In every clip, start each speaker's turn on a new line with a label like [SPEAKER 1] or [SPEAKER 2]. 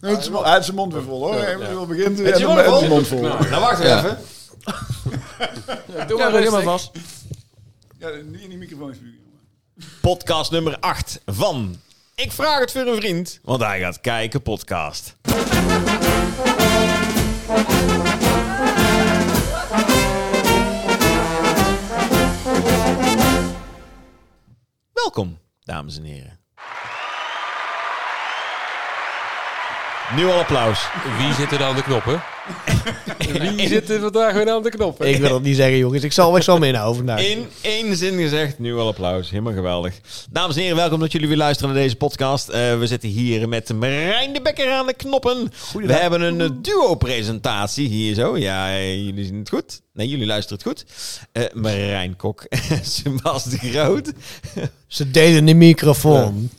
[SPEAKER 1] Nee, het is wel- Ah, Hij heeft zijn mond weer vol hoor. Hij begint weer
[SPEAKER 2] Het is
[SPEAKER 1] en dan
[SPEAKER 2] wel
[SPEAKER 1] heeft zijn
[SPEAKER 2] vol.
[SPEAKER 1] mond vol.
[SPEAKER 2] Nou, wacht
[SPEAKER 3] Ja.
[SPEAKER 2] even.
[SPEAKER 3] Doe
[SPEAKER 4] Ja,
[SPEAKER 3] maar
[SPEAKER 4] dat helemaal
[SPEAKER 3] rustig.
[SPEAKER 4] vast.
[SPEAKER 1] Ja, niet in die microfoon spugen. jongen.
[SPEAKER 2] Podcast nummer 8 van Ik vraag het voor een vriend, want hij gaat kijken podcast. Welkom, dames en heren. Nu al applaus.
[SPEAKER 3] Wie zit er dan aan de knoppen?
[SPEAKER 4] Wie zit er vandaag weer aan de knop?
[SPEAKER 2] Ik
[SPEAKER 4] Ik wil dat niet zeggen, jongens. Ik zal, ik zal me inhouden vandaag.
[SPEAKER 2] In één zin gezegd, nu wel applaus. Helemaal geweldig. Dames en heren, welkom dat jullie weer luisteren naar deze podcast. Eh, we zitten hier met Marijn de Bekker aan de knoppen. We hebben een eh, duo-presentatie hier zo. Ja, eh, jullie zien het goed. Nee, jullie luisteren het goed. Eh Marijn Kok en Sebas de Groot.
[SPEAKER 4] Ze deden de microfoon.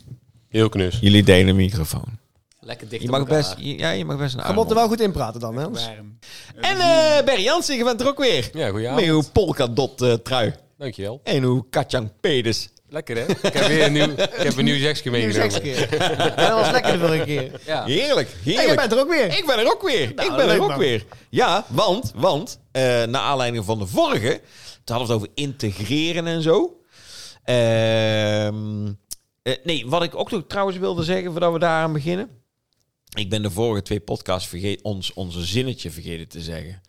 [SPEAKER 3] Heel knus.
[SPEAKER 2] Jullie delen een microfoon.
[SPEAKER 3] Lekker dicht
[SPEAKER 2] Je
[SPEAKER 3] op
[SPEAKER 2] mag
[SPEAKER 3] elkaar.
[SPEAKER 2] best, ja, je mag best een
[SPEAKER 4] Ga
[SPEAKER 2] adem
[SPEAKER 4] Mop er wel goed in praten dan, hè? Hans?
[SPEAKER 1] Warm.
[SPEAKER 2] En eh Berry Jansen, je bent er ook weer.
[SPEAKER 3] Ja, goeie
[SPEAKER 2] Met
[SPEAKER 3] avond.
[SPEAKER 2] uw polkadot eh, trui.
[SPEAKER 3] Dankjewel.
[SPEAKER 2] En uw katjang pedis.
[SPEAKER 3] Lekker hè? Ik heb weer een nieuw, ik heb een nieuw zeksje
[SPEAKER 4] Nieuw
[SPEAKER 3] meegenomen.
[SPEAKER 4] keer. Dat was lekker de vorige keer.
[SPEAKER 3] Ja.
[SPEAKER 2] Heerlijk, heerlijk.
[SPEAKER 4] En je bent er ook weer. Nou,
[SPEAKER 2] Ik ben er ook weer. ik ben
[SPEAKER 4] leuk,
[SPEAKER 2] er ook
[SPEAKER 4] man.
[SPEAKER 2] weer. Ja, want, want eh naar aanleiding van de vorige, toen hadden we het over integreren en zo. Ehm, eh, nee, wat ik ook nog trouwens wilde zeggen voordat we daaraan beginnen. Ik ben de vorige twee podcasts vergeet, ons, onze zinnetje vergeten te zeggen.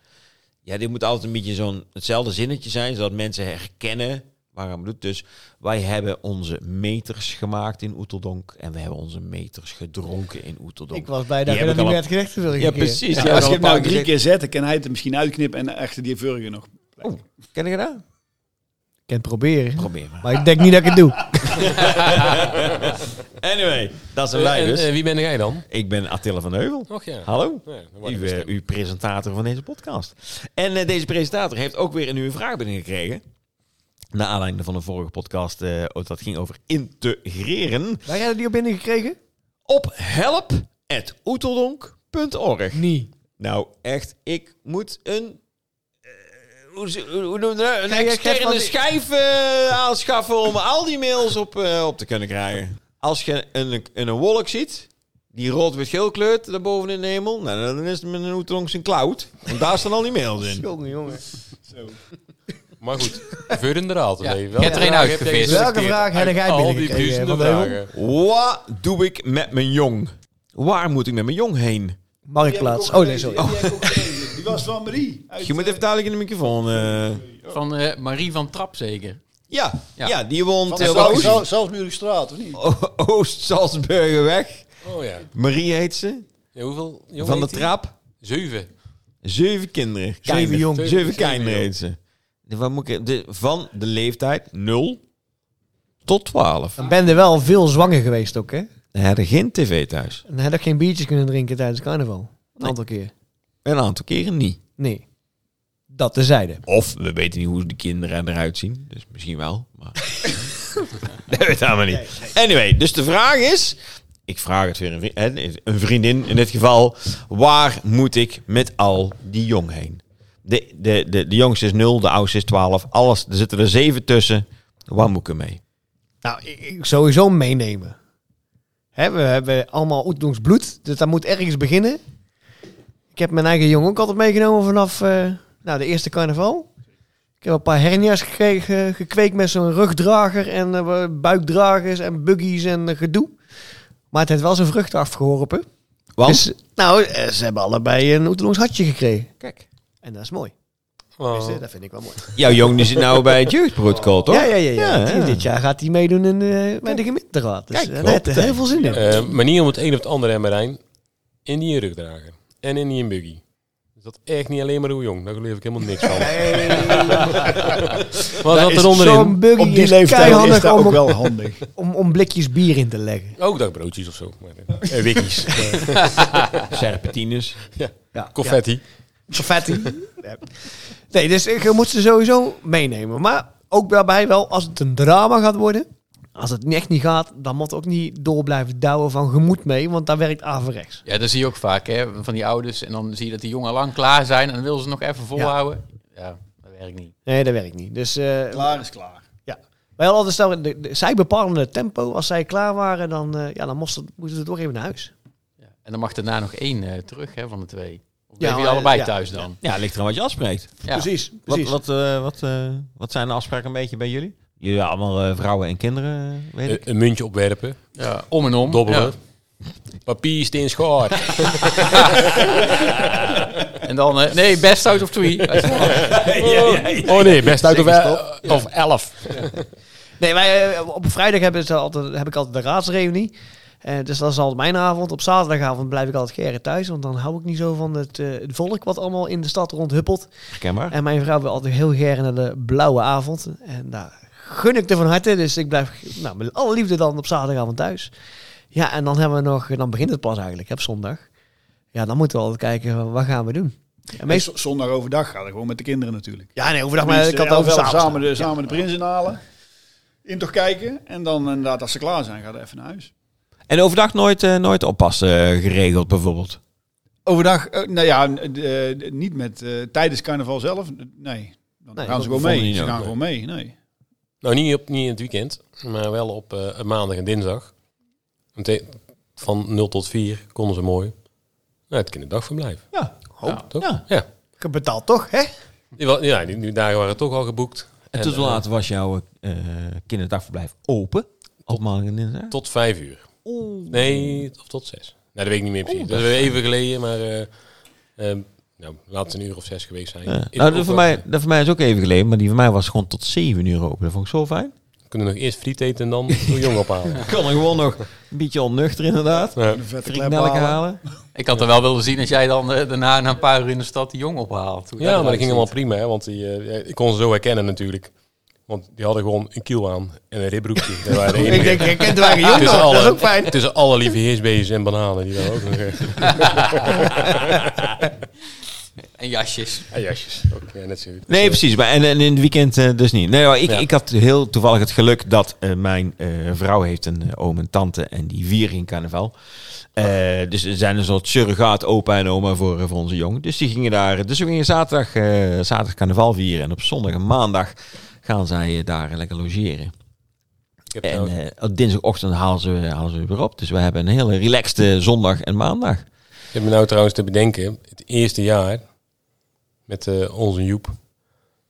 [SPEAKER 2] Ja, dit moet altijd een beetje zo'n hetzelfde zinnetje zijn, zodat mensen herkennen waar het doet. Dus wij hebben onze meters gemaakt in Oeteldonk en we hebben onze meters gedronken in Oeteldonk.
[SPEAKER 4] Ik was blij dat
[SPEAKER 2] Die heb
[SPEAKER 4] je dat
[SPEAKER 2] ik
[SPEAKER 4] niet
[SPEAKER 2] al
[SPEAKER 4] meer had gezegd de vorige
[SPEAKER 2] Ja,
[SPEAKER 4] keer.
[SPEAKER 2] precies.
[SPEAKER 1] Ja,
[SPEAKER 2] Ja,
[SPEAKER 1] als je
[SPEAKER 2] wel
[SPEAKER 1] het nou
[SPEAKER 2] een
[SPEAKER 1] drie
[SPEAKER 2] paar
[SPEAKER 1] keer zet, dan kan hij het er misschien uitknippen en achter die vurgen nog.
[SPEAKER 2] Oh, ken je dat?
[SPEAKER 4] Ik kan het proberen.
[SPEAKER 2] Probeer maar.
[SPEAKER 4] Maar ik denk niet dat ik het doe.
[SPEAKER 2] Anyway, dat zijn
[SPEAKER 3] Eh,
[SPEAKER 2] wij
[SPEAKER 3] en,
[SPEAKER 2] dus.
[SPEAKER 3] eh, wie ben jij dan?
[SPEAKER 2] Ik ben Attila van Heuvel.
[SPEAKER 3] Och ja.
[SPEAKER 2] Hallo.
[SPEAKER 3] Ja, dan word ik
[SPEAKER 2] Uw, eh,
[SPEAKER 3] bestemd.
[SPEAKER 2] uw presentator van deze podcast. En eh, deze presentator heeft ook weer een nieuwe vraag binnengekregen. Naar aanleiding van de vorige podcast. eh, dat ging over integreren.
[SPEAKER 4] Wij hadden die op binnen gekregen?
[SPEAKER 2] Op help.oeteldonk.org.
[SPEAKER 4] Niet.
[SPEAKER 2] Nou, echt, ik moet een. eh, hoe, ze- hoe, hoe noem je dat? Een
[SPEAKER 4] Kijk, ik heb
[SPEAKER 2] externe
[SPEAKER 4] van die-
[SPEAKER 2] schijf eh, aanschaffen om al die mails op, eh, op te kunnen krijgen. Als je een, een, een wolk ziet, die rood-wit-geel kleurt daarboven in de hemel, nou, dan is het met een Oetrongs een cloud. Want daar staan al die mails in.
[SPEAKER 4] Jongen, jongen.
[SPEAKER 1] Zo.
[SPEAKER 3] Maar goed, verder de te
[SPEAKER 5] Ja,
[SPEAKER 3] leven.
[SPEAKER 5] je hebt er een uitgevist.
[SPEAKER 4] Welke vraag heb jij
[SPEAKER 3] Al die
[SPEAKER 4] binnengekregen,
[SPEAKER 3] duizenden
[SPEAKER 4] Van Heuvel?
[SPEAKER 3] vragen.
[SPEAKER 2] Wat doe ik met mijn jong? Waar moet ik met mijn jong heen?
[SPEAKER 4] Marktplaats. Oh, nee, sorry.
[SPEAKER 1] Die, heb ik ook gelezen. die was van Marie. Uit,
[SPEAKER 2] Je moet
[SPEAKER 1] eh,
[SPEAKER 2] even duidelijk in de microfoon. eh.
[SPEAKER 5] Van eh, Marie van Trap zeker.
[SPEAKER 2] ja, ja.
[SPEAKER 5] Ja.
[SPEAKER 2] die woont
[SPEAKER 1] van
[SPEAKER 2] eh,
[SPEAKER 1] Zal-
[SPEAKER 2] Oost-
[SPEAKER 1] Zal- Salzburgstraat, of niet?
[SPEAKER 2] O- Oost-Salzburgerweg.
[SPEAKER 3] Oh ja.
[SPEAKER 2] Marie heet ze.
[SPEAKER 3] ja hoeveel? jongen
[SPEAKER 2] van de
[SPEAKER 3] heet die?
[SPEAKER 2] trap.
[SPEAKER 3] Zeven.
[SPEAKER 2] Zeven kinderen. Kinderen.
[SPEAKER 4] jong.
[SPEAKER 2] Zeven,
[SPEAKER 3] Zeven
[SPEAKER 2] kinderen
[SPEAKER 3] jong.
[SPEAKER 2] heet ze. De- wat moet ik, de, van de leeftijd 0 tot 12.
[SPEAKER 4] Dan ben je wel veel zwanger geweest ook, hè?
[SPEAKER 2] Hij had geen tv thuis.
[SPEAKER 4] En hij had geen biertjes kunnen drinken tijdens carnaval. Een
[SPEAKER 2] Nee.
[SPEAKER 4] aantal keer.
[SPEAKER 2] Een aantal keren niet.
[SPEAKER 4] Nee. Dat tezijde.
[SPEAKER 2] Of we weten niet hoe de kinderen eruit zien. Dus misschien wel. Maar... dat weet allemaal niet. Anyway, dus de vraag is... Ik vraag het weer een, vri- hè, een vriendin in dit geval. Waar moet ik met al die jong heen? De, de, de, de jongste is 0, de oudste is 12. Alles, er zitten er zeven tussen. Waar moet ik mee?
[SPEAKER 4] Nou, ik, ik sowieso meenemen. Hè, we hebben allemaal Oetdoens bloed, dus dat moet ergens beginnen. Ik heb mijn eigen jongen ook altijd meegenomen vanaf eh, nou, de eerste carnaval. Ik heb een paar hernia's gekregen, gekweekt met zo'n rugdrager en eh, buikdragers en buggies en eh, gedoe. Maar het heeft wel zijn vruchten afgeworpen.
[SPEAKER 2] Want?
[SPEAKER 4] Dus, nou, eh, ze hebben allebei een Oetdoens hartje gekregen.
[SPEAKER 2] Kijk.
[SPEAKER 4] En dat is mooi.
[SPEAKER 3] Oh.
[SPEAKER 4] Dus, eh, dat vind ik wel mool.
[SPEAKER 2] Jouw jong die zit nou bij het jeugdbroodkool, toch?
[SPEAKER 4] Ja, ja, ja. ja.
[SPEAKER 2] Ja, ja.
[SPEAKER 4] Dit jaar gaat hij meedoen in, eh, bij de gemeenteraad. Dus
[SPEAKER 2] Kijk,
[SPEAKER 4] eh, daar
[SPEAKER 2] klopt,
[SPEAKER 4] heeft
[SPEAKER 2] hè.
[SPEAKER 4] hij heel veel zin in.
[SPEAKER 3] Eh, manier om het een of het ander en Marijn. In die rugdrager. En in die een buggy. Is dat echt niet alleen maar hoe jong? Daar geloof ik helemaal niks van. Wat zat
[SPEAKER 1] is
[SPEAKER 3] er onderin?
[SPEAKER 4] Zo'n buggy
[SPEAKER 1] Op die
[SPEAKER 4] is
[SPEAKER 1] leeftijd
[SPEAKER 4] keihandig
[SPEAKER 1] is dat
[SPEAKER 4] om,
[SPEAKER 1] ook wel handig.
[SPEAKER 4] om, om blikjes bier in te leggen.
[SPEAKER 3] Ook dat broodjes of zo. Maar, eh,
[SPEAKER 2] Eh, wikkies. Serpentines.
[SPEAKER 4] Ja,
[SPEAKER 3] Confetti.
[SPEAKER 4] ja. Confetti. Ja. nee, dus ik- je moet ze sowieso meenemen. Maar ook daarbij wel, als het een drama gaat worden... Als het echt niet gaat, dan moet ook niet door blijven douwen van gemoed mee, want daar werkt averechts.
[SPEAKER 5] Ja, dat zie je ook vaak hè, van die ouders. En dan zie je dat die jongen lang klaar zijn en dan willen ze nog even volhouden. Ja, dat werkt niet.
[SPEAKER 4] Nee, dat werkt niet. Dus eh,
[SPEAKER 1] Klaar is klaar.
[SPEAKER 4] wij hadden altijd stel, de, de- zij bepalen het tempo. Als zij klaar waren, dan, eh, ja, dan moesten, moesten ze toch even naar huis.
[SPEAKER 5] Ja. En dan mag daarna nog één eh, terug hè, van de twee. Of
[SPEAKER 4] Ja,
[SPEAKER 5] blijven jullie
[SPEAKER 4] maar-
[SPEAKER 5] allebei
[SPEAKER 4] ja.
[SPEAKER 5] thuis dan?
[SPEAKER 2] Ja, ligt er aan wat je afspreekt.
[SPEAKER 5] Ja.
[SPEAKER 4] Precies,
[SPEAKER 2] Wat,
[SPEAKER 4] precies.
[SPEAKER 2] wat, eh, wat, eh, wat zijn de afspraken een beetje bij jullie? Jullie allemaal eh, vrouwen en kinderen, eh, weet ik.
[SPEAKER 3] Een, een muntje opwerpen,
[SPEAKER 5] Ja, om en om.
[SPEAKER 3] dobbelen. Papier, steen, schaar.
[SPEAKER 5] Ja. En dan, eh, nee, best out of three.
[SPEAKER 3] Oh nee, best uit of,
[SPEAKER 5] Zeg eens
[SPEAKER 3] eh, of elf.
[SPEAKER 4] Nee, wij, eh, op vrijdag hebben ze altijd, heb ik altijd de raadsreunie. Eh, dus dat is altijd mijn avond. Op zaterdagavond blijf ik altijd Gerrit thuis. Want dan hou ik niet zo van het, eh, het volk wat allemaal in de stad rondhuppelt.
[SPEAKER 2] Herkenbaar.
[SPEAKER 4] En mijn vrouw wil altijd heel graag naar de blauwe avond. En daar gun ik er van harte. Dus ik blijf nou, met alle liefde dan op zaterdagavond thuis. Ja, en dan hebben we nog, dan begint het pas eigenlijk, hè, op zondag. Ja, dan moeten we altijd kijken, wat gaan we doen? En meestal,
[SPEAKER 1] Meestal zondag overdag gaat het gewoon met de kinderen natuurlijk. Dus,
[SPEAKER 4] ja, nee, overdag, maar ik
[SPEAKER 1] Tenminste,
[SPEAKER 4] had het over
[SPEAKER 1] elf, elf
[SPEAKER 4] s'avonds.
[SPEAKER 1] samen de, samen de prins inhalen. In toch kijken. En dan inderdaad, als ze klaar zijn, gaat even naar huis.
[SPEAKER 2] En overdag nooit, eh, nooit oppassen eh, geregeld bijvoorbeeld.
[SPEAKER 1] Overdag, eh, nou ja, n- eh, eh, niet met eh, tijdens carnaval zelf. eh, Nee, dan gaan
[SPEAKER 4] Nee,
[SPEAKER 1] ze
[SPEAKER 2] dat
[SPEAKER 1] gewoon
[SPEAKER 2] vond
[SPEAKER 1] mee.
[SPEAKER 2] ik
[SPEAKER 1] Ze
[SPEAKER 2] niet
[SPEAKER 1] gaan
[SPEAKER 2] ook,
[SPEAKER 1] gewoon mee, nee.
[SPEAKER 3] Nou, niet, op, niet in het weekend, maar wel op eh, maandag en dinsdag. Meteen Van 0 tot 4 konden ze mooi. Nou, het kinderdagverblijf.
[SPEAKER 4] Ja, hoop.
[SPEAKER 3] Toch?
[SPEAKER 4] Oh. Ja.
[SPEAKER 3] ja.
[SPEAKER 4] Betaald toch, hè?
[SPEAKER 3] Die wa- Ja, die, die dagen waren toch al geboekt.
[SPEAKER 2] En tot hoe
[SPEAKER 3] eh,
[SPEAKER 2] laat was jouw eh, kinderdagverblijf open? Op maandag en dinsdag?
[SPEAKER 3] tot 5 uur. Nee, of tot 6. Nou, dat weet ik niet meer precies.
[SPEAKER 2] Oeh,
[SPEAKER 3] dat is weer even geleden, maar eh, eh, nou, laat het een uur of zes geweest zijn.
[SPEAKER 2] Ja.
[SPEAKER 3] Ik
[SPEAKER 2] Nou,
[SPEAKER 3] ook
[SPEAKER 2] dat voor,
[SPEAKER 3] wel-
[SPEAKER 2] mij, dat voor mij is ook even geleden, maar die van mij was gewoon tot 7 uur open. Dat vond ik zo fijn.
[SPEAKER 3] We kunnen nog eerst friet eten en dan de jong ophalen.
[SPEAKER 2] Ik kan er gewoon nog een beetje onnuchter inderdaad.
[SPEAKER 3] Ja.
[SPEAKER 1] Een vette klep
[SPEAKER 2] Friknelk
[SPEAKER 1] halen.
[SPEAKER 2] halen.
[SPEAKER 5] Ik had er wel willen zien als jij dan eh, daarna na een paar uur in de stad die jong ophaalt. Hoe
[SPEAKER 3] Ja, maar dat
[SPEAKER 5] eruit
[SPEAKER 3] ging
[SPEAKER 5] ziet.
[SPEAKER 3] allemaal prima, hè, want die, eh, ik kon ze zo herkennen natuurlijk. Want die hadden gewoon een kiel aan en een ribbroekje. Dat waren de enige.
[SPEAKER 4] Ik denk, je kent de eigen jongen,
[SPEAKER 3] Tussen
[SPEAKER 4] dat is
[SPEAKER 3] alle-
[SPEAKER 4] ook fijn.
[SPEAKER 3] Tussen alle lieve heersbeestjes en bananen. Die daar ook nog, eh,
[SPEAKER 5] En jasjes.
[SPEAKER 3] en jasjes. Ook, eh, net zo goed.
[SPEAKER 2] Nee, precies. Maar en, en in het weekend eh, dus niet. Nee, maar ik,
[SPEAKER 3] Ja.
[SPEAKER 2] ik had heel toevallig het geluk dat eh, mijn eh, vrouw heeft een eh, oom en tante en die vieren in carnaval. Eh, dus er zijn een soort surrogaat opa en oma voor, eh, voor onze jongen. Dus die gingen daar. Dus we gingen zaterdag, eh, zaterdag carnaval vieren. En op zondag en maandag gaan zij eh, daar lekker logeren.
[SPEAKER 3] Ik heb
[SPEAKER 2] En
[SPEAKER 3] nou-
[SPEAKER 2] eh, op dinsdagochtend halen ze, halen ze weer op. Dus we hebben een hele relaxed eh, zondag en maandag.
[SPEAKER 3] Ik heb me nou trouwens te bedenken, het eerste jaar met eh, onze Joep,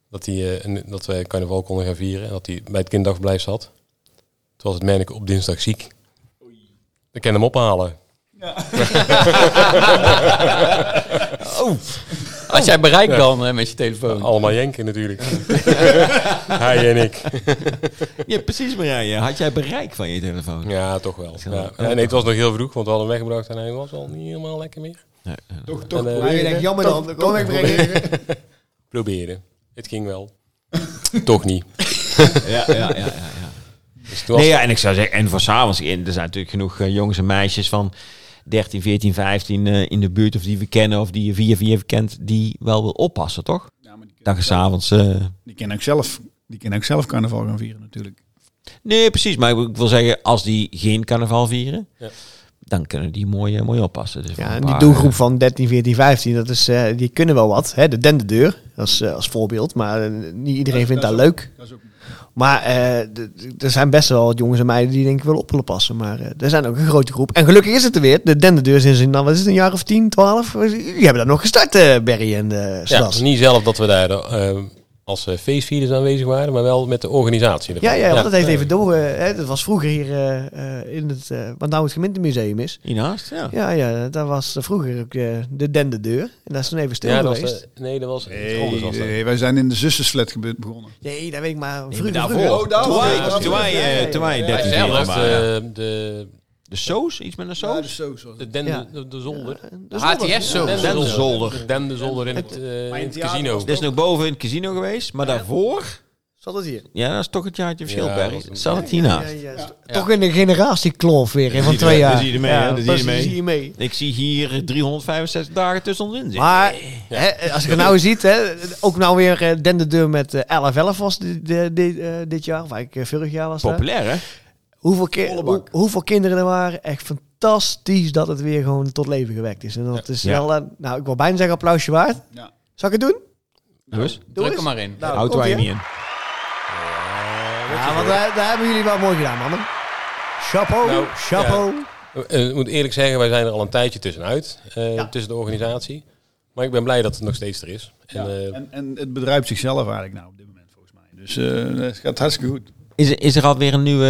[SPEAKER 3] dat, die, eh, een- dat we carnaval konden gaan vieren en dat hij bij het kinderdagblijf zat. Toen was het merk op dinsdag ziek. Ik kan hem ophalen.
[SPEAKER 5] Als jij bereikt
[SPEAKER 3] Oh.
[SPEAKER 5] dan eh, met je telefoon.
[SPEAKER 3] Allemaal Jenken natuurlijk. Hij en ik.
[SPEAKER 2] Ja, precies Marije. Had jij bereik van je telefoon?
[SPEAKER 3] Ja, toch wel. Ja.
[SPEAKER 2] Ja.
[SPEAKER 3] En nee, het was nog heel vroeg, want we hadden hem weggebracht en hij was al niet helemaal lekker meer.
[SPEAKER 1] Toch, toch.
[SPEAKER 3] En, eh,
[SPEAKER 1] proberen.
[SPEAKER 4] je denkt, jammer
[SPEAKER 1] Toch-
[SPEAKER 4] dan, dan
[SPEAKER 1] toch
[SPEAKER 4] kom ik brengen.
[SPEAKER 1] proberen.
[SPEAKER 3] Proberen. Het ging wel. toch niet.
[SPEAKER 2] ja, ja, ja. ja, ja.
[SPEAKER 3] Dus toen was
[SPEAKER 2] Nee, ja, en ik zou zeggen, en voor s'avonds, in- er zijn natuurlijk genoeg eh, jongens en meisjes van 13, 14, 15 eh, in de buurt, of die we kennen, of die je via via kent, die wel wil oppassen, toch?
[SPEAKER 1] Ja, maar die kunnen-
[SPEAKER 2] Dan je s'avonds. eh,
[SPEAKER 1] Die kennen ook zelf, die kennen ook zelf carnaval gaan vieren natuurlijk.
[SPEAKER 2] Nee, precies, maar ik wil zeggen, als die geen carnaval vieren,
[SPEAKER 3] Ja.
[SPEAKER 2] dan kunnen die mooi, eh, mooi oppassen. Dus voor
[SPEAKER 4] Ja,
[SPEAKER 2] een
[SPEAKER 4] en die
[SPEAKER 2] paar,
[SPEAKER 4] doelgroep van 13, 14, 15, dat is, eh, die kunnen wel wat. Hè? De denderdeur, als, eh, als voorbeeld. Maar eh, niet iedereen vindt dat,
[SPEAKER 1] dat is ook-
[SPEAKER 4] leuk.
[SPEAKER 1] Dat is ook
[SPEAKER 4] Maar eh, d- d- er zijn best wel wat jongens en meiden die denk ik wel op willen passen. Maar eh, er zijn ook een grote groep. En gelukkig is het er weer. De denderdeur is in, nou, wat is het, een jaar of 10, 12? Die hebben dat nog gestart, eh Berry en eh
[SPEAKER 3] Ja, het
[SPEAKER 4] Slas.
[SPEAKER 3] is niet zelf dat we daar eh, als eh, feestvierders aanwezig waren, maar wel met de organisatie. ervan.
[SPEAKER 4] Ja, ja, want dat heeft
[SPEAKER 3] Ja.
[SPEAKER 4] even door. eh, hè, dat was vroeger hier eh, eh, in het, eh, wat nou het gemeentemuseum is.
[SPEAKER 2] Hiernaast, ja.
[SPEAKER 4] Ja, ja, daar was eh, vroeger ook eh, de denderdeur. En dat is toen even stil
[SPEAKER 3] Ja, dat
[SPEAKER 4] geweest.
[SPEAKER 3] was, eh, nee, dat was iets anders. Was
[SPEAKER 1] Nee,
[SPEAKER 3] dat.
[SPEAKER 1] nee, wij zijn in de zussenflat gebe- begonnen.
[SPEAKER 4] Nee, dat weet ik maar.
[SPEAKER 2] Nee, maar
[SPEAKER 4] Vroeger,
[SPEAKER 2] daarvoor.
[SPEAKER 4] vroeger.
[SPEAKER 1] Oh, daarvoor.
[SPEAKER 2] Toen wij-
[SPEAKER 1] Ja, ja,
[SPEAKER 2] toen wij,
[SPEAKER 4] ja,
[SPEAKER 2] eh,
[SPEAKER 4] ja,
[SPEAKER 2] toen
[SPEAKER 4] ja.
[SPEAKER 2] wij
[SPEAKER 4] Wij
[SPEAKER 2] 13
[SPEAKER 5] zelf,
[SPEAKER 2] jaar
[SPEAKER 3] Dat was
[SPEAKER 2] waren.
[SPEAKER 3] de, de,
[SPEAKER 2] De soos, iets met een
[SPEAKER 1] Ja,
[SPEAKER 2] soos?
[SPEAKER 1] dus zo, zo.
[SPEAKER 3] de, den,
[SPEAKER 4] Ja.
[SPEAKER 3] de, de zolder.
[SPEAKER 4] Dus
[SPEAKER 5] HTS zo.
[SPEAKER 2] Den- Dendenzolder.
[SPEAKER 3] De Dendenzolder in het, eh,
[SPEAKER 1] Oh, Maar
[SPEAKER 3] in
[SPEAKER 1] in
[SPEAKER 3] het
[SPEAKER 1] theater
[SPEAKER 3] casino.
[SPEAKER 1] was
[SPEAKER 2] Er is nog boven in het casino geweest, maar daarvoor...
[SPEAKER 4] Zat het hier?
[SPEAKER 2] Ja, dat is toch het jaartje verschil,
[SPEAKER 3] Ja,
[SPEAKER 2] Barry.
[SPEAKER 3] dat was een-
[SPEAKER 2] Zat het hiernaast?
[SPEAKER 4] Ja, ja, ja. Toch in de generatiekloof weer hè, van twee jaar.
[SPEAKER 2] dat zie je ermee, hè, dat zie je
[SPEAKER 4] precies,
[SPEAKER 2] ermee.
[SPEAKER 4] zie je mee.
[SPEAKER 2] Ik zie hier 365 dagen tussen ons in zitten.
[SPEAKER 4] Maar hè, als je het nou ziet, hè, ook nou weer eh, Den de Deur met eh, 11-11 was di- di- di- eh, dit jaar, of eigenlijk eh, vorig jaar was dat.
[SPEAKER 2] Populair, hè?
[SPEAKER 4] Hoeveel, ki-
[SPEAKER 1] Volle
[SPEAKER 4] hoe-
[SPEAKER 1] bak.
[SPEAKER 4] hoeveel kinderen er waren, echt fantastisch dat het weer gewoon tot leven gewekt is. En dat is
[SPEAKER 2] Ja.
[SPEAKER 4] wel, eh, nou ik wil bijna zeggen applausje waard.
[SPEAKER 1] Ja.
[SPEAKER 4] Zal ik het doen?
[SPEAKER 2] Dus,
[SPEAKER 4] Doe
[SPEAKER 5] Druk
[SPEAKER 4] eens.
[SPEAKER 5] hem maar in.
[SPEAKER 4] Nou,
[SPEAKER 2] houden
[SPEAKER 4] komt-ie,
[SPEAKER 2] wij
[SPEAKER 4] hè?
[SPEAKER 2] niet in.
[SPEAKER 4] Ja, want daar, daar hebben jullie wel mooi gedaan, mannen. Chapeau,
[SPEAKER 3] Nou,
[SPEAKER 4] chapeau.
[SPEAKER 3] Eh, ik moet eerlijk zeggen, wij zijn er al een tijdje tussenuit. eh,
[SPEAKER 4] Ja.
[SPEAKER 3] Tussen de organisatie. Maar ik ben blij dat het nog steeds er is. En,
[SPEAKER 1] Ja,
[SPEAKER 3] eh,
[SPEAKER 1] en, en het bedrijft zichzelf eigenlijk nou op dit moment volgens mij. Dus eh, het gaat hartstikke goed.
[SPEAKER 2] Is, er- is er alweer een nieuwe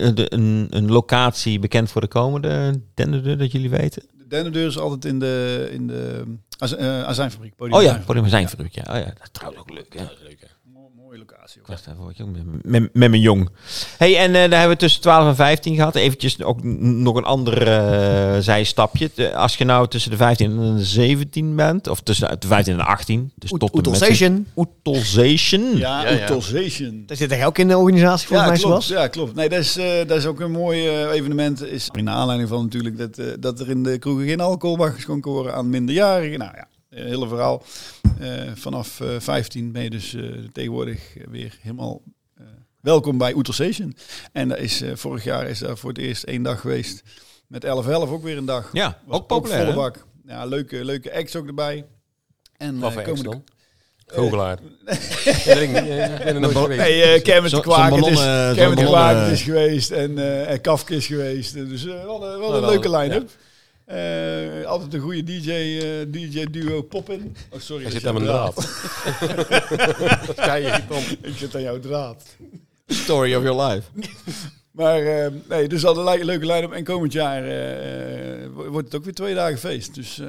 [SPEAKER 2] eh, de- een, een locatie bekend voor de komende denderde, dat jullie weten?
[SPEAKER 1] De dennendeur is altijd in de, in de az- eh, azijnfabriek. Podium
[SPEAKER 2] Oh ja,
[SPEAKER 1] Azijnfabriek.
[SPEAKER 2] Podium Azijnfabriek, ja. Oh ja, dat is trouwens ook leuk, hè.
[SPEAKER 3] dat is leuk, hè.
[SPEAKER 1] Mooi- mooie locatie. ook.
[SPEAKER 2] Ik was daar voor, jong, met- met, met mijn jong. hey, en eh, daar hebben we tussen 12 en 15 gehad. Eventjes ook n- nog een ander eh, zijstapje. De- als je nou tussen de 15 en de 17 bent, of tussen de 15 en de 18, dus tot en
[SPEAKER 4] Oetel
[SPEAKER 2] met-
[SPEAKER 4] Station.
[SPEAKER 2] Oetelzation.
[SPEAKER 1] Ja,
[SPEAKER 5] Ja, ja.
[SPEAKER 1] Utilization.
[SPEAKER 4] Daar zit jij ook in de organisatie volgens mij,
[SPEAKER 1] klopt,
[SPEAKER 4] Sebas.
[SPEAKER 1] ja, klopt. Nee, dat is, eh, dat is ook een mooi eh, evenement. Is in aanleiding van natuurlijk dat, eh, dat er in de kroegen geen alcohol mag geschonken worden aan minderjarigen. Nou ja, een hele verhaal. Eh, vanaf eh, 15 ben je dus eh, tegenwoordig weer helemaal eh, welkom bij Oeterstation. En dat is, eh, vorig jaar is daar voor het eerst één dag geweest. Met 11.11 ook weer een dag.
[SPEAKER 2] Ja,
[SPEAKER 1] Was
[SPEAKER 2] ook populair,
[SPEAKER 1] Volle
[SPEAKER 2] hè?
[SPEAKER 1] bak. Ja, leuke, leuke acts ook erbij. En eh,
[SPEAKER 3] Wat voor acts
[SPEAKER 1] komende-
[SPEAKER 3] dan? Goochelaar. Dat weet ik niet. Eh, ik ben er nooit geweest.
[SPEAKER 1] Nee, eh Kermit de
[SPEAKER 2] Zo-
[SPEAKER 1] Kwaak
[SPEAKER 2] zo'n
[SPEAKER 1] het is,
[SPEAKER 2] ballonnen- zo'n
[SPEAKER 1] Kermit de
[SPEAKER 2] ballonnen-
[SPEAKER 1] Kwaak het is geweest en eh en Kafka is geweest. Eh, Dus eh, wel, een- wel een
[SPEAKER 3] wel,
[SPEAKER 1] leuke
[SPEAKER 3] ja.
[SPEAKER 1] line-up. Eh, altijd een goede DJ, eh, DJ duo Poppin. Oh, sorry.
[SPEAKER 3] Hij
[SPEAKER 1] dat
[SPEAKER 3] zit
[SPEAKER 1] is
[SPEAKER 3] aan mijn
[SPEAKER 1] jouw
[SPEAKER 3] draad.
[SPEAKER 1] Ik zit aan jouw draad.
[SPEAKER 2] Story of your life.
[SPEAKER 1] Maar eh, nee, dus al een lei- leuke line-up. En komend jaar eh, eh, wo- wordt het ook weer twee dagen feest. Dus, eh,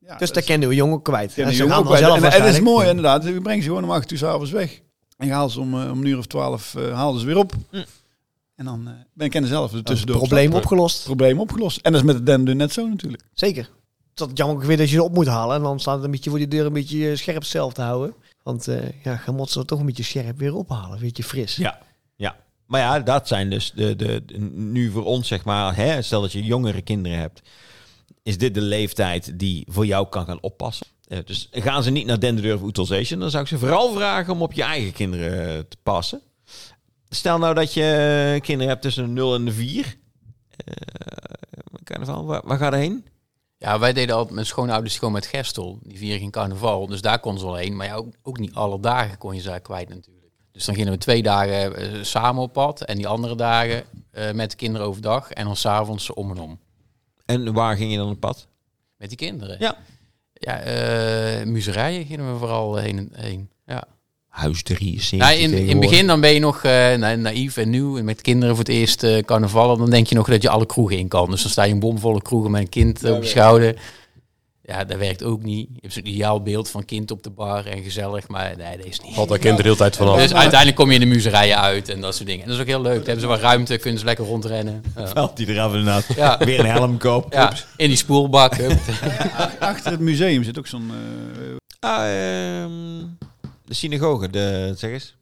[SPEAKER 1] ja, dat
[SPEAKER 4] Dus daar
[SPEAKER 1] is-
[SPEAKER 4] kennen we jongen kwijt.
[SPEAKER 1] Ja,
[SPEAKER 4] En
[SPEAKER 1] die
[SPEAKER 4] ze
[SPEAKER 1] jongen
[SPEAKER 4] gaan
[SPEAKER 1] ook
[SPEAKER 4] dan
[SPEAKER 1] wel.
[SPEAKER 4] zelf
[SPEAKER 1] en, en dat is
[SPEAKER 4] waarschijnlijk.
[SPEAKER 1] mooi inderdaad. Je brengt ze gewoon om acht uur s'avonds weg. En je haalt ze om, eh, om een uur of twaalf, eh haalden ze weer op.
[SPEAKER 2] Mm.
[SPEAKER 1] En dan eh, ben ik en zelf er tussendoor.
[SPEAKER 4] Probleem
[SPEAKER 1] gestapt.
[SPEAKER 4] opgelost.
[SPEAKER 1] probleem opgelost. En dat is met de dende net zo natuurlijk.
[SPEAKER 4] Zeker. Het is altijd jammer ook weer dat je ze op moet halen. En dan staat het een beetje voor die deur een beetje eh, scherp zelf te houden. Want eh ja, gaan motsen het toch een beetje scherp weer ophalen. Een beetje fris.
[SPEAKER 2] Ja, ja. Maar ja, dat zijn dus de, de, de- nu voor ons zeg maar, hè, stel dat je jongere kinderen hebt, is dit de leeftijd die voor jou kan gaan oppassen. Eh, dus gaan ze niet naar Denderdeur of Utilization, dan zou ik ze vooral vragen om op je eigen kinderen eh, te passen. Stel nou dat je kinderen hebt tussen de 0 en de 4. Eh, carnaval, waar, waar ga je heen?
[SPEAKER 5] Ja, wij deden altijd mijn schoonouders gewoon met Gestel. Die vieren geen carnaval, dus daar kon ze wel heen. Maar ja, ook, ook niet alle dagen kon je ze daar kwijt natuurlijk. Dus dan gingen we twee dagen eh, samen op pad en die andere dagen eh, met de kinderen overdag. En dan s'avonds om en om
[SPEAKER 2] En waar ging je dan op pad?
[SPEAKER 5] met die kinderen.
[SPEAKER 2] Ja.
[SPEAKER 5] Ja, eh muzerijen gingen we vooral heen. heen. Ja.
[SPEAKER 2] Huis 3,
[SPEAKER 5] Nou, in, in het begin dan ben je nog eh, na- naïef en nieuw. En met kinderen voor het eerst eh carnaval. Dan denk je nog dat je alle kroegen in kan. Dus dan sta je een bomvolle kroegen met een kind eh, op je schouder. Ja, dat werkt ook niet. Je hebt zo'n ideaal beeld van kind op de bar en gezellig. Maar nee, dat is niet.
[SPEAKER 3] Valt dat kind er de hele tijd vanaf.
[SPEAKER 5] Dus uiteindelijk kom je in de muzerijen uit en dat soort dingen. En dat is ook heel leuk. Dan hebben ze wat ruimte, kunnen ze lekker rondrennen. Ja.
[SPEAKER 2] Haalt die eraf inderdaad.
[SPEAKER 5] Ja.
[SPEAKER 2] Weer een helm koop.
[SPEAKER 5] Ja, in die spoelbak. hup.
[SPEAKER 1] Achter het museum zit ook zo'n... eh
[SPEAKER 2] Ah, ehm, de synagoge, de, zeg eens.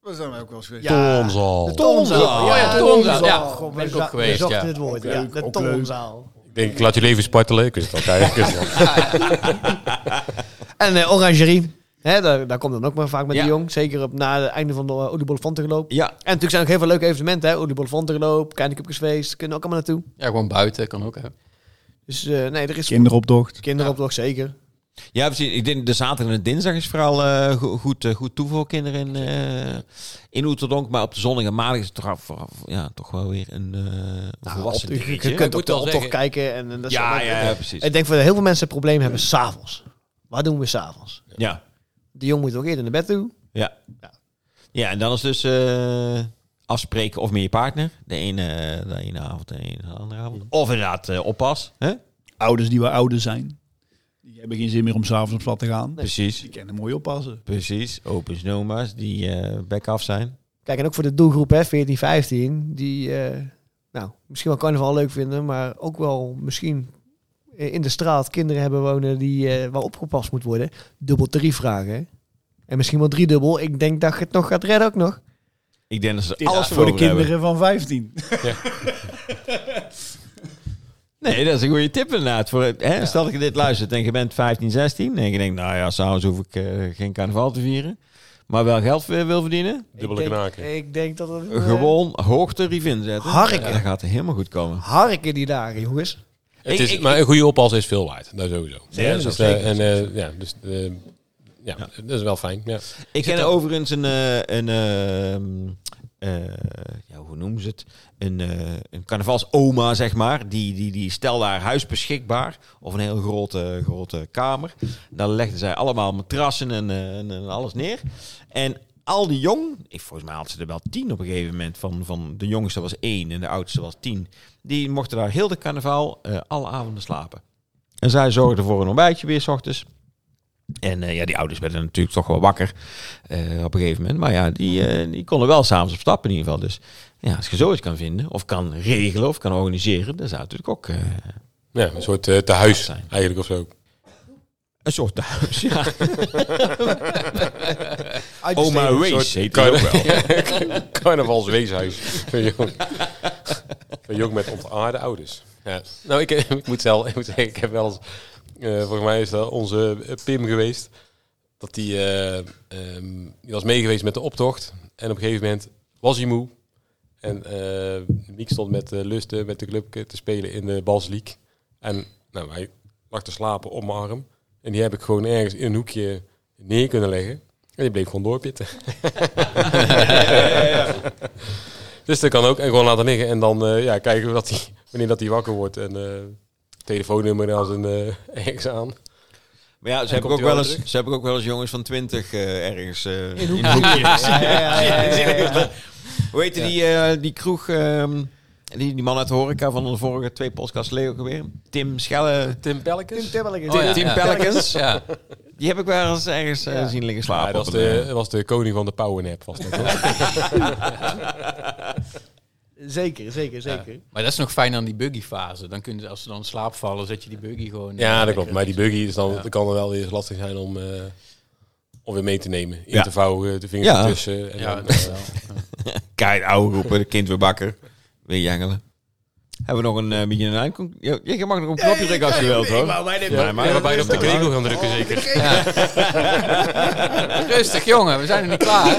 [SPEAKER 2] Ah,
[SPEAKER 1] waar zijn wij ook wel eens geweest?
[SPEAKER 4] Ja.
[SPEAKER 3] Tonzaal.
[SPEAKER 4] De tonzaal.
[SPEAKER 5] Oh ja, de tonzaal. Ja,
[SPEAKER 4] God,
[SPEAKER 5] ben ik
[SPEAKER 4] we
[SPEAKER 5] ook
[SPEAKER 4] za-
[SPEAKER 5] geweest,
[SPEAKER 4] We zochten
[SPEAKER 5] ja.
[SPEAKER 4] het woord.
[SPEAKER 1] Ook
[SPEAKER 4] Ja,
[SPEAKER 1] leuk,
[SPEAKER 4] de
[SPEAKER 1] ook leuk.
[SPEAKER 4] tonzaal.
[SPEAKER 3] Ik denk, ik laat jullie even spartelen. Is dat eigenlijk?
[SPEAKER 4] En eh, orangerie. Hè, daar, daar komt dan ook maar vaak met
[SPEAKER 2] Ja.
[SPEAKER 4] de jong. Zeker op, na het einde van de uh, Oliebollefantengeloop. En
[SPEAKER 2] Ja,
[SPEAKER 4] natuurlijk zijn er ook heel veel leuke evenementen. hè. Oliebollefantengeloop, Kijnekupjesfeest. Kunnen ook allemaal naartoe.
[SPEAKER 5] Ja, gewoon buiten kan ook. Hè.
[SPEAKER 4] Dus eh, nee, er is...
[SPEAKER 1] Kinderoptocht.
[SPEAKER 4] Kinderopdracht, zeker.
[SPEAKER 2] ja precies. Ik denk de zaterdag en de dinsdag is vooral eh, go- goed, eh, goed toe voor kinderen in, eh in Oeterdonk. Maar op de zondag en maandag is het toch, af- af- ja, toch wel weer een eh volwassen
[SPEAKER 4] je, je
[SPEAKER 2] dingetje.
[SPEAKER 4] kunt
[SPEAKER 5] moet
[SPEAKER 4] op de
[SPEAKER 5] wel
[SPEAKER 4] optocht
[SPEAKER 5] zeggen.
[SPEAKER 4] kijken. En, en dat is
[SPEAKER 2] ja,
[SPEAKER 4] ook-
[SPEAKER 2] ja, ja, precies.
[SPEAKER 4] Ik denk dat heel veel mensen het probleem hebben s'avonds. Wat doen we s'avonds?
[SPEAKER 2] Ja,
[SPEAKER 4] De jong moet ook eerder naar bed toe.
[SPEAKER 2] ja.
[SPEAKER 4] Ja.
[SPEAKER 2] Ja, en dan is dus eh, afspreken of met je partner. De ene, de ene avond en de ene- de andere avond. Of inderdaad eh, oppas. Hè?
[SPEAKER 1] Ouders die wel ouder zijn. Die hebben geen zin meer om s'avonds op pad te gaan. Dus
[SPEAKER 2] Precies.
[SPEAKER 1] Die kunnen mooi oppassen.
[SPEAKER 2] Precies. Open noma's die eh back af zijn.
[SPEAKER 4] Kijk, en ook voor de doelgroep hè, 14, 15, die eh, nou, misschien wel carnaval leuk vinden, maar ook wel misschien eh, in de straat kinderen hebben wonen die eh wel opgepast moet worden. Dubbel tarief vragen. hè. En misschien wel driedubbel. Ik denk dat je het nog gaat redden ook nog.
[SPEAKER 2] Ik denk dat ze
[SPEAKER 1] Dit
[SPEAKER 2] alles
[SPEAKER 1] is voor de
[SPEAKER 2] erover hebben.
[SPEAKER 1] kinderen van 15.
[SPEAKER 2] Nee, dat is een goede tip inderdaad. Voor, het- hè, Stel dat je dit luistert en je bent 15, 16 en je denkt, nou ja, s'avonds hoef ik eh, geen carnaval te vieren, maar wel geld eh, wil verdienen.
[SPEAKER 3] Dubbele
[SPEAKER 4] ik denk,
[SPEAKER 3] knaken.
[SPEAKER 4] Ik denk dat het... eh,
[SPEAKER 2] Gewoon hoog tarief inzetten.
[SPEAKER 4] Harken.
[SPEAKER 2] Ja, dat gaat helemaal goed komen.
[SPEAKER 4] eh, Harken die dagen, jongens.
[SPEAKER 3] Het
[SPEAKER 2] Ik-
[SPEAKER 3] is,
[SPEAKER 2] ik-
[SPEAKER 3] maar een goede oppas is veel waard. Dat sowieso.
[SPEAKER 2] Nee,
[SPEAKER 3] Ja,
[SPEAKER 2] dat
[SPEAKER 3] dus,
[SPEAKER 2] is ook
[SPEAKER 3] eh, en,
[SPEAKER 2] zeker.
[SPEAKER 3] eh, ja, dus, eh, ja, dat is wel fijn. Ja.
[SPEAKER 2] Ik ken overigens een, eh, een, eh, eh, ja, hoe noemen ze het? Een, eh een carnavalsoma, zeg maar. Die, die, die stelde haar huis beschikbaar. Of een heel grote, grote kamer. Daar legden zij allemaal matrassen en, eh, en, en alles neer. En al die jong, ik, volgens mij had ze er wel tien op een gegeven moment. Van, van de jongste was één en de oudste was tien. Die mochten daar heel de carnaval eh, alle avonden slapen. En zij zorgden voor een ontbijtje weer s ochtends. En eh, ja, die ouders werden natuurlijk toch wel wakker eh, op een gegeven moment. Maar ja, die, eh, die konden wel s'avonds op stap in ieder geval. Dus ja, als je zoiets kan vinden, of kan regelen, of kan organiseren, dan zou het natuurlijk ook eh,
[SPEAKER 3] Ja, een soort eh tehuis
[SPEAKER 2] zijn.
[SPEAKER 3] eigenlijk of zo.
[SPEAKER 2] een soort thuis. Ja.
[SPEAKER 4] Uitbesteding.
[SPEAKER 2] Oma
[SPEAKER 3] Een
[SPEAKER 2] Wees
[SPEAKER 3] soort
[SPEAKER 2] heet die ook wel.
[SPEAKER 3] carna- Carnavalsweeshuis. Weet je ook. Weet je ook met ontaarde ouders. Ja. Nou, ik, ik, moet wel, ik moet zeggen, ik heb wel eens... eh, volgens mij is dat onze eh, Pim geweest. Dat die, eh, ehm, die was meegeweest met de optocht. En op een gegeven moment was hij moe. En eh Miek stond met eh, Lusten, met de club te spelen in de Balsliek. En nou, hij lag te slapen op mijn arm. En die heb ik gewoon ergens in een hoekje neer kunnen leggen. En die bleef gewoon doorpitten. Dus dat kan ook. En gewoon laten liggen. En dan eh, ja, kijken we dat die, wanneer dat hij wakker wordt. En eh, telefoonnummer als een eh ex aan.
[SPEAKER 2] Maar ja, ze
[SPEAKER 3] En
[SPEAKER 2] heb, ik
[SPEAKER 3] komt
[SPEAKER 2] ook
[SPEAKER 3] hij wel
[SPEAKER 2] wel eens,
[SPEAKER 3] terug?
[SPEAKER 2] ze heb ik ook wel eens jongens van 20 eh, ergens eh, in
[SPEAKER 4] hoekjes.
[SPEAKER 2] een hoekje.
[SPEAKER 4] Ja, ja, ja, ja, ja, ja.
[SPEAKER 2] Hoe heette die, eh, die kroeg, ehm, die, die man uit de horeca van de vorige twee podcasts, Leo ook weer? Tim Schelle,
[SPEAKER 3] Tim Pelkens?
[SPEAKER 4] Tim Tebbeling.
[SPEAKER 5] Oh, ja.
[SPEAKER 2] Tim Pelicans.
[SPEAKER 5] Ja.
[SPEAKER 2] Die heb ik wel eens ergens eh,
[SPEAKER 4] Ja.
[SPEAKER 2] zien liggen slapen.
[SPEAKER 3] Ja, dat was
[SPEAKER 2] op een,
[SPEAKER 3] de,
[SPEAKER 2] eh,
[SPEAKER 3] dat was de koning van de powernap. Was dat, hoor.
[SPEAKER 4] Zeker, zeker, zeker.
[SPEAKER 5] Maar dat is nog fijn aan die buggy-fase. Dan kunnen ze, als ze dan in slaap vallen, zet je die buggy gewoon... eh,
[SPEAKER 3] ja, dat klopt.
[SPEAKER 5] lekker.
[SPEAKER 3] Maar die buggy is dan, dat kan wel eens lastig zijn om, eh, om weer mee te nemen. In
[SPEAKER 2] Ja.
[SPEAKER 3] te vouwen, de vingers
[SPEAKER 2] Ja.
[SPEAKER 3] ertussen. En
[SPEAKER 5] Ja,
[SPEAKER 3] dan,
[SPEAKER 5] dat is
[SPEAKER 3] eh,
[SPEAKER 5] wel.
[SPEAKER 2] Kijk, ouwe roepen, de kind weer bakker. Weer jangelen. Hebben we nog een eh, beetje een eindcon- Ja, Je mag nog een knopje drukken als je wilt, hoor.
[SPEAKER 3] ja, maar waarbij je op de kregel gaan drukken zeker.
[SPEAKER 5] Rustig, jongen. We zijn er niet klaar.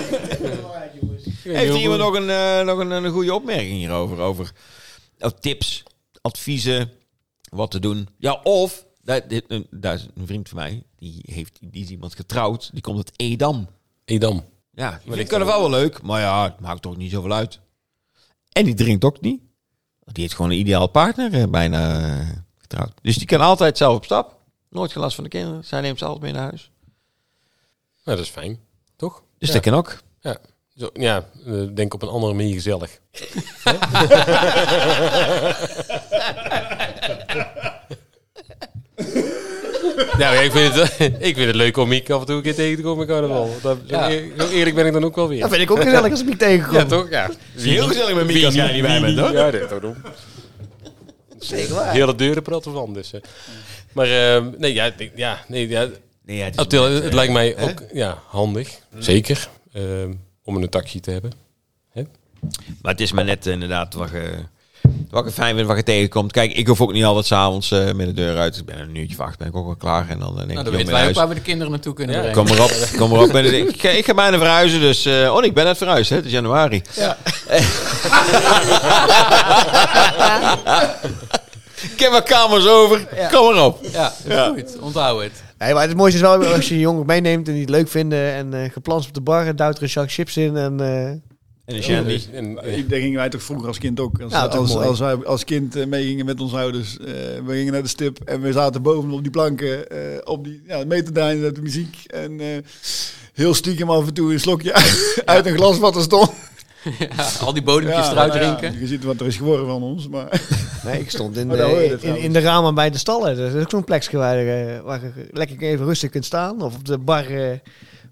[SPEAKER 2] Heeft iemand nog een, eh, nog een, een goede opmerking hierover? Over oh, tips, adviezen, wat te doen. Ja, of, daar, dit, een- daar is een vriend van mij, die, heeft, die is iemand getrouwd, die komt uit Edam.
[SPEAKER 3] Edam.
[SPEAKER 2] Ja,
[SPEAKER 3] Maar
[SPEAKER 2] ik
[SPEAKER 3] ik-
[SPEAKER 2] kan er wel wel leuk, maar ja, het maakt toch niet zoveel uit. En die drinkt ook niet. Die heeft gewoon een ideaal partner eh, bijna eh, getrouwd. Dus die kan altijd zelf op stap. Nooit gelast van de kinderen. Zij neemt ze altijd mee naar huis.
[SPEAKER 3] Nou, dat is fijn. Toch?
[SPEAKER 2] Dus dat kan ook.
[SPEAKER 3] Ja. Zo, ja, eh, denk op een andere manier gezellig. nou, ja, ik vind, het, ik vind het leuk om Miek af en toe een keer tegen te komen in carnaval. Dat, zo,
[SPEAKER 5] Ja.
[SPEAKER 3] eer- zo eerlijk ben ik dan ook wel
[SPEAKER 4] Dat
[SPEAKER 3] weer.
[SPEAKER 4] vind ik ook gezellig als ik niet tegenkom.
[SPEAKER 3] Ja, toch? Ja.
[SPEAKER 2] heel gezellig met Mieke als jij niet bij bent, hoor.
[SPEAKER 3] Ja, dat ook.
[SPEAKER 4] Zeker waar.
[SPEAKER 3] Heel de deuren praten van, dus. eh. Maar eh, nee, ja, ik denk- ja, nee, ja,
[SPEAKER 2] Nee, ja, het is-
[SPEAKER 3] Abdil, het lijkt mij ook ja, handig. Zeker. eh, om een taxi te hebben.
[SPEAKER 2] Maar het is maar net eh, inderdaad wat je, wat je fijn vindt, wat je tegenkomt. Kijk, ik hoef ook niet altijd s'avonds eh met de deur uit. Ik ben een uurtje vacht, ben ik ook wel klaar. En dan eh, denk
[SPEAKER 5] Nou,
[SPEAKER 2] ik,
[SPEAKER 5] dan
[SPEAKER 2] joh,
[SPEAKER 5] weten
[SPEAKER 2] mee
[SPEAKER 5] wij ook
[SPEAKER 2] naar
[SPEAKER 5] waar
[SPEAKER 2] huis.
[SPEAKER 5] we de kinderen naartoe kunnen
[SPEAKER 3] Ja.
[SPEAKER 5] brengen.
[SPEAKER 2] Kom erop, kom erop. En ik, ga- ik ga bijna verhuizen, dus... eh, oh, ik ben net verhuisd, hè. Het is januari.
[SPEAKER 4] Ja.
[SPEAKER 2] Ik heb mijn kamers over.
[SPEAKER 4] Ja.
[SPEAKER 2] Kom maar op.
[SPEAKER 5] Ja, dat is goed. Onthoud het.
[SPEAKER 4] Nee, maar het mooiste is wel als je een jongen meeneemt en die het leuk vinden en eh geplanst op de bar en duwt er een zak chips in en eh,
[SPEAKER 2] En een
[SPEAKER 3] En,
[SPEAKER 2] shandy.
[SPEAKER 3] eh,
[SPEAKER 1] Ik- Daar gingen wij Nou, toch vroeger als kind ook. Als,
[SPEAKER 4] Ja, toch
[SPEAKER 1] als,
[SPEAKER 4] mooi.
[SPEAKER 1] als wij als kind eh, meegingen met onze ouders. eh, we gingen naar de stip en we zaten bovenop die planken eh, op die, ja, mee te duinen met de muziek. En eh, heel stiekem af en toe een slokje uit een glas wat er stond.
[SPEAKER 5] Ja, al die bodempjes
[SPEAKER 1] Ja,
[SPEAKER 5] eruit
[SPEAKER 1] nou ja,
[SPEAKER 5] drinken.
[SPEAKER 1] je ziet wat er is geworden van ons. Maar
[SPEAKER 4] nee, ik stond in,
[SPEAKER 1] Maar daar
[SPEAKER 4] eh,
[SPEAKER 1] hoor je het
[SPEAKER 4] in, in de ramen bij de stallen. Dus Dat is ook zo'n plekje waar, je, eh, waar je lekker even rustig kunt staan. Of op de bar eh,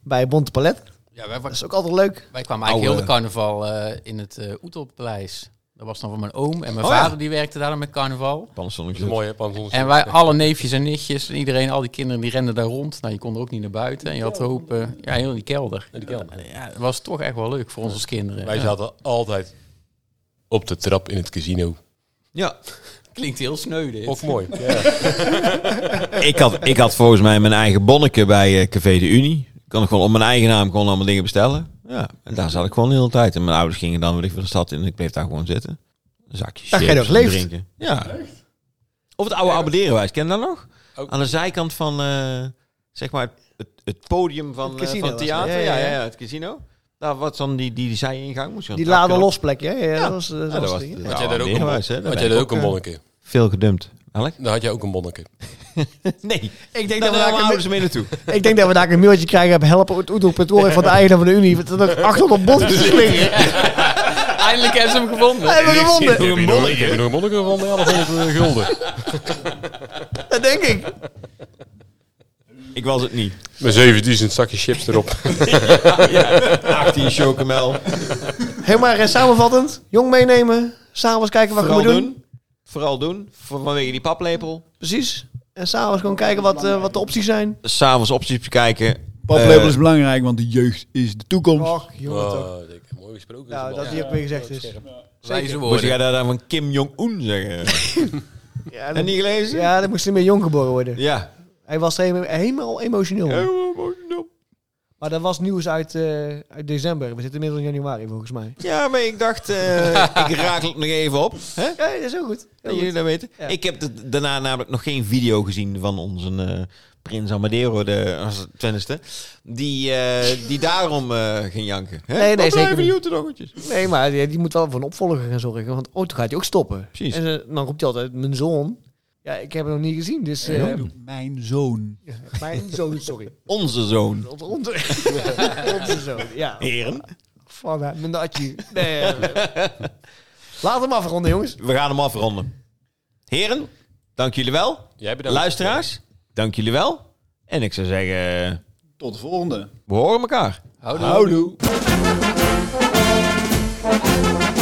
[SPEAKER 4] bij Bonte Palet.
[SPEAKER 5] Ja, wij,
[SPEAKER 4] Dat is ook altijd leuk.
[SPEAKER 5] wij kwamen eigenlijk heel
[SPEAKER 2] Oude-
[SPEAKER 5] de carnaval eh, in het eh Oetelpaleis. Dat was dan van mijn oom en mijn
[SPEAKER 2] Oh, ja.
[SPEAKER 5] vader die werkte daar dan met carnaval.
[SPEAKER 3] Dat is
[SPEAKER 2] Pannenstonnetje.
[SPEAKER 3] mooi, hè? Panzons.
[SPEAKER 5] En wij, alle neefjes en nichtjes en iedereen, al die kinderen, die renden daar rond. Nou, je kon er ook niet naar buiten. En je had hoop, eh, ja, heel in die kelder. eh,
[SPEAKER 3] die kelder.
[SPEAKER 5] Ja, het was toch echt wel leuk voor ons als kinderen.
[SPEAKER 3] Wij
[SPEAKER 5] Ja.
[SPEAKER 3] zaten altijd op de trap in het casino.
[SPEAKER 2] Ja.
[SPEAKER 5] Klinkt heel sneu dit.
[SPEAKER 3] Of mooi. Ja.
[SPEAKER 2] Ik had, ik had volgens mij mijn eigen bonnetje bij eh, Café de Unie. Kan ik gewoon op mijn eigen naam gewoon allemaal dingen bestellen. Ja. En daar zat ik gewoon de hele tijd. En mijn ouders gingen dan weer van de stad in en ik bleef daar gewoon zitten. Een zakje
[SPEAKER 4] Daar
[SPEAKER 2] chips
[SPEAKER 4] ga je nog
[SPEAKER 2] en
[SPEAKER 4] leeft.
[SPEAKER 2] drinken. Ja. Of het oude abonnerenwijs. Ken je dat nog?
[SPEAKER 3] Ook.
[SPEAKER 2] Aan de zijkant van, eh, zeg maar, het, het podium van het,
[SPEAKER 4] casino
[SPEAKER 2] van het
[SPEAKER 4] was
[SPEAKER 2] theater.
[SPEAKER 4] dat.
[SPEAKER 2] Ja
[SPEAKER 4] Ja,
[SPEAKER 2] ja,
[SPEAKER 4] ja,
[SPEAKER 2] ja,
[SPEAKER 4] ja.
[SPEAKER 2] het casino. Nou, wat is dan die, die, die zij-ingang? Moest je
[SPEAKER 4] Die
[SPEAKER 2] een trapje
[SPEAKER 4] laden
[SPEAKER 2] op?
[SPEAKER 4] lospleek, hè? Ja, dat was, eh, dat
[SPEAKER 2] Ja,
[SPEAKER 4] was
[SPEAKER 2] dat was,
[SPEAKER 4] die, hè?
[SPEAKER 3] Had jij daar ook een
[SPEAKER 2] was, hè?
[SPEAKER 3] Had jij daar ook eh, een bonnetje?
[SPEAKER 2] Veel gedumpt. Elk?
[SPEAKER 3] Daar had jij ook een bonnetje.
[SPEAKER 2] Nee.
[SPEAKER 3] Nou,
[SPEAKER 4] Ik denk, dat
[SPEAKER 2] Dan
[SPEAKER 4] we daar
[SPEAKER 2] houden
[SPEAKER 4] een,
[SPEAKER 2] ze mee naartoe.
[SPEAKER 4] ik denk dat we daar een mailtje krijgen op helpen.oetroep.org van de eigenaar van de Unie. Dat er nog 800 bonnetjes liggen.
[SPEAKER 5] Eindelijk hebben ze hem
[SPEAKER 4] We
[SPEAKER 5] gevonden.
[SPEAKER 4] hebben gewonnen.
[SPEAKER 3] Heb je nog- heb je nog een bonnetje van 1100 gulden?
[SPEAKER 4] Dat denk ik.
[SPEAKER 2] Ik was het niet.
[SPEAKER 3] Met 7000 zakjes chips erop.
[SPEAKER 2] 18 chocomel.
[SPEAKER 4] Helemaal eh, samenvattend. Jong meenemen. S'avonds kijken wat
[SPEAKER 2] Vooral
[SPEAKER 4] we doen.
[SPEAKER 2] doen. Vooral doen. Voor- Vanwege die paplepel.
[SPEAKER 4] Precies. En s'avonds gewoon kijken wat, eh, wat de opties zijn.
[SPEAKER 2] Dus S'avonds opties bekijken.
[SPEAKER 1] Paplepel
[SPEAKER 2] Eh,
[SPEAKER 1] is belangrijk, want de jeugd is de toekomst.
[SPEAKER 4] Och, jongen toch.
[SPEAKER 3] Oh, dik. Mooi gesproken.
[SPEAKER 4] Nou, dat
[SPEAKER 3] voetbal.
[SPEAKER 4] die ook weer gezegd is.
[SPEAKER 5] Wijze
[SPEAKER 2] Moest jij
[SPEAKER 5] woorden.
[SPEAKER 2] daar dan van Kim Jong-un zeggen?
[SPEAKER 4] Ja, dat-
[SPEAKER 2] en niet gelezen?
[SPEAKER 4] Ja, dan moest hij meer jong geboren worden.
[SPEAKER 2] Ja.
[SPEAKER 4] Hij was helemaal, helemaal emotioneel. Maar dat was nieuws uit, eh, uit december. We zitten inmiddels in januari volgens mij.
[SPEAKER 2] Ja, maar ik dacht, eh, ik raak het nog even op. Hè?
[SPEAKER 4] Ja, dat is heel goed. Heel
[SPEAKER 2] Dat jullie
[SPEAKER 4] goed.
[SPEAKER 2] dat weten.
[SPEAKER 4] Ja.
[SPEAKER 2] Ik heb de- daarna namelijk nog geen video gezien van onze eh, prins Amadeo, de als- tenminste. Die, eh, die daarom eh ging janken. Hè?
[SPEAKER 4] Nee, nee,
[SPEAKER 2] Waar
[SPEAKER 4] zeker
[SPEAKER 2] blijven die
[SPEAKER 4] niet.
[SPEAKER 2] oeterdoggetjes?
[SPEAKER 4] Nee, maar die, die moet wel voor een opvolger gaan zorgen. Want ooit gaat hij ook stoppen.
[SPEAKER 2] Precies.
[SPEAKER 4] En eh, dan roept hij altijd, mijn zoon. Ja, ik heb hem nog niet gezien, dus... eh,
[SPEAKER 1] Mijn zoon.
[SPEAKER 4] mijn zoon, sorry.
[SPEAKER 2] Onze zoon.
[SPEAKER 4] Onze, onze, onze zoon, ja.
[SPEAKER 2] Heren,
[SPEAKER 4] Van eh, mijn natje. Nee, eh, Laat hem afronden, jongens.
[SPEAKER 2] we gaan hem afronden. Heren, dank jullie wel.
[SPEAKER 3] Jij bedankt.
[SPEAKER 2] Luisteraars, dank jullie wel. En ik zou zeggen,
[SPEAKER 1] Tot de volgende.
[SPEAKER 2] we horen elkaar.
[SPEAKER 5] Houdoe.
[SPEAKER 1] Houdoe.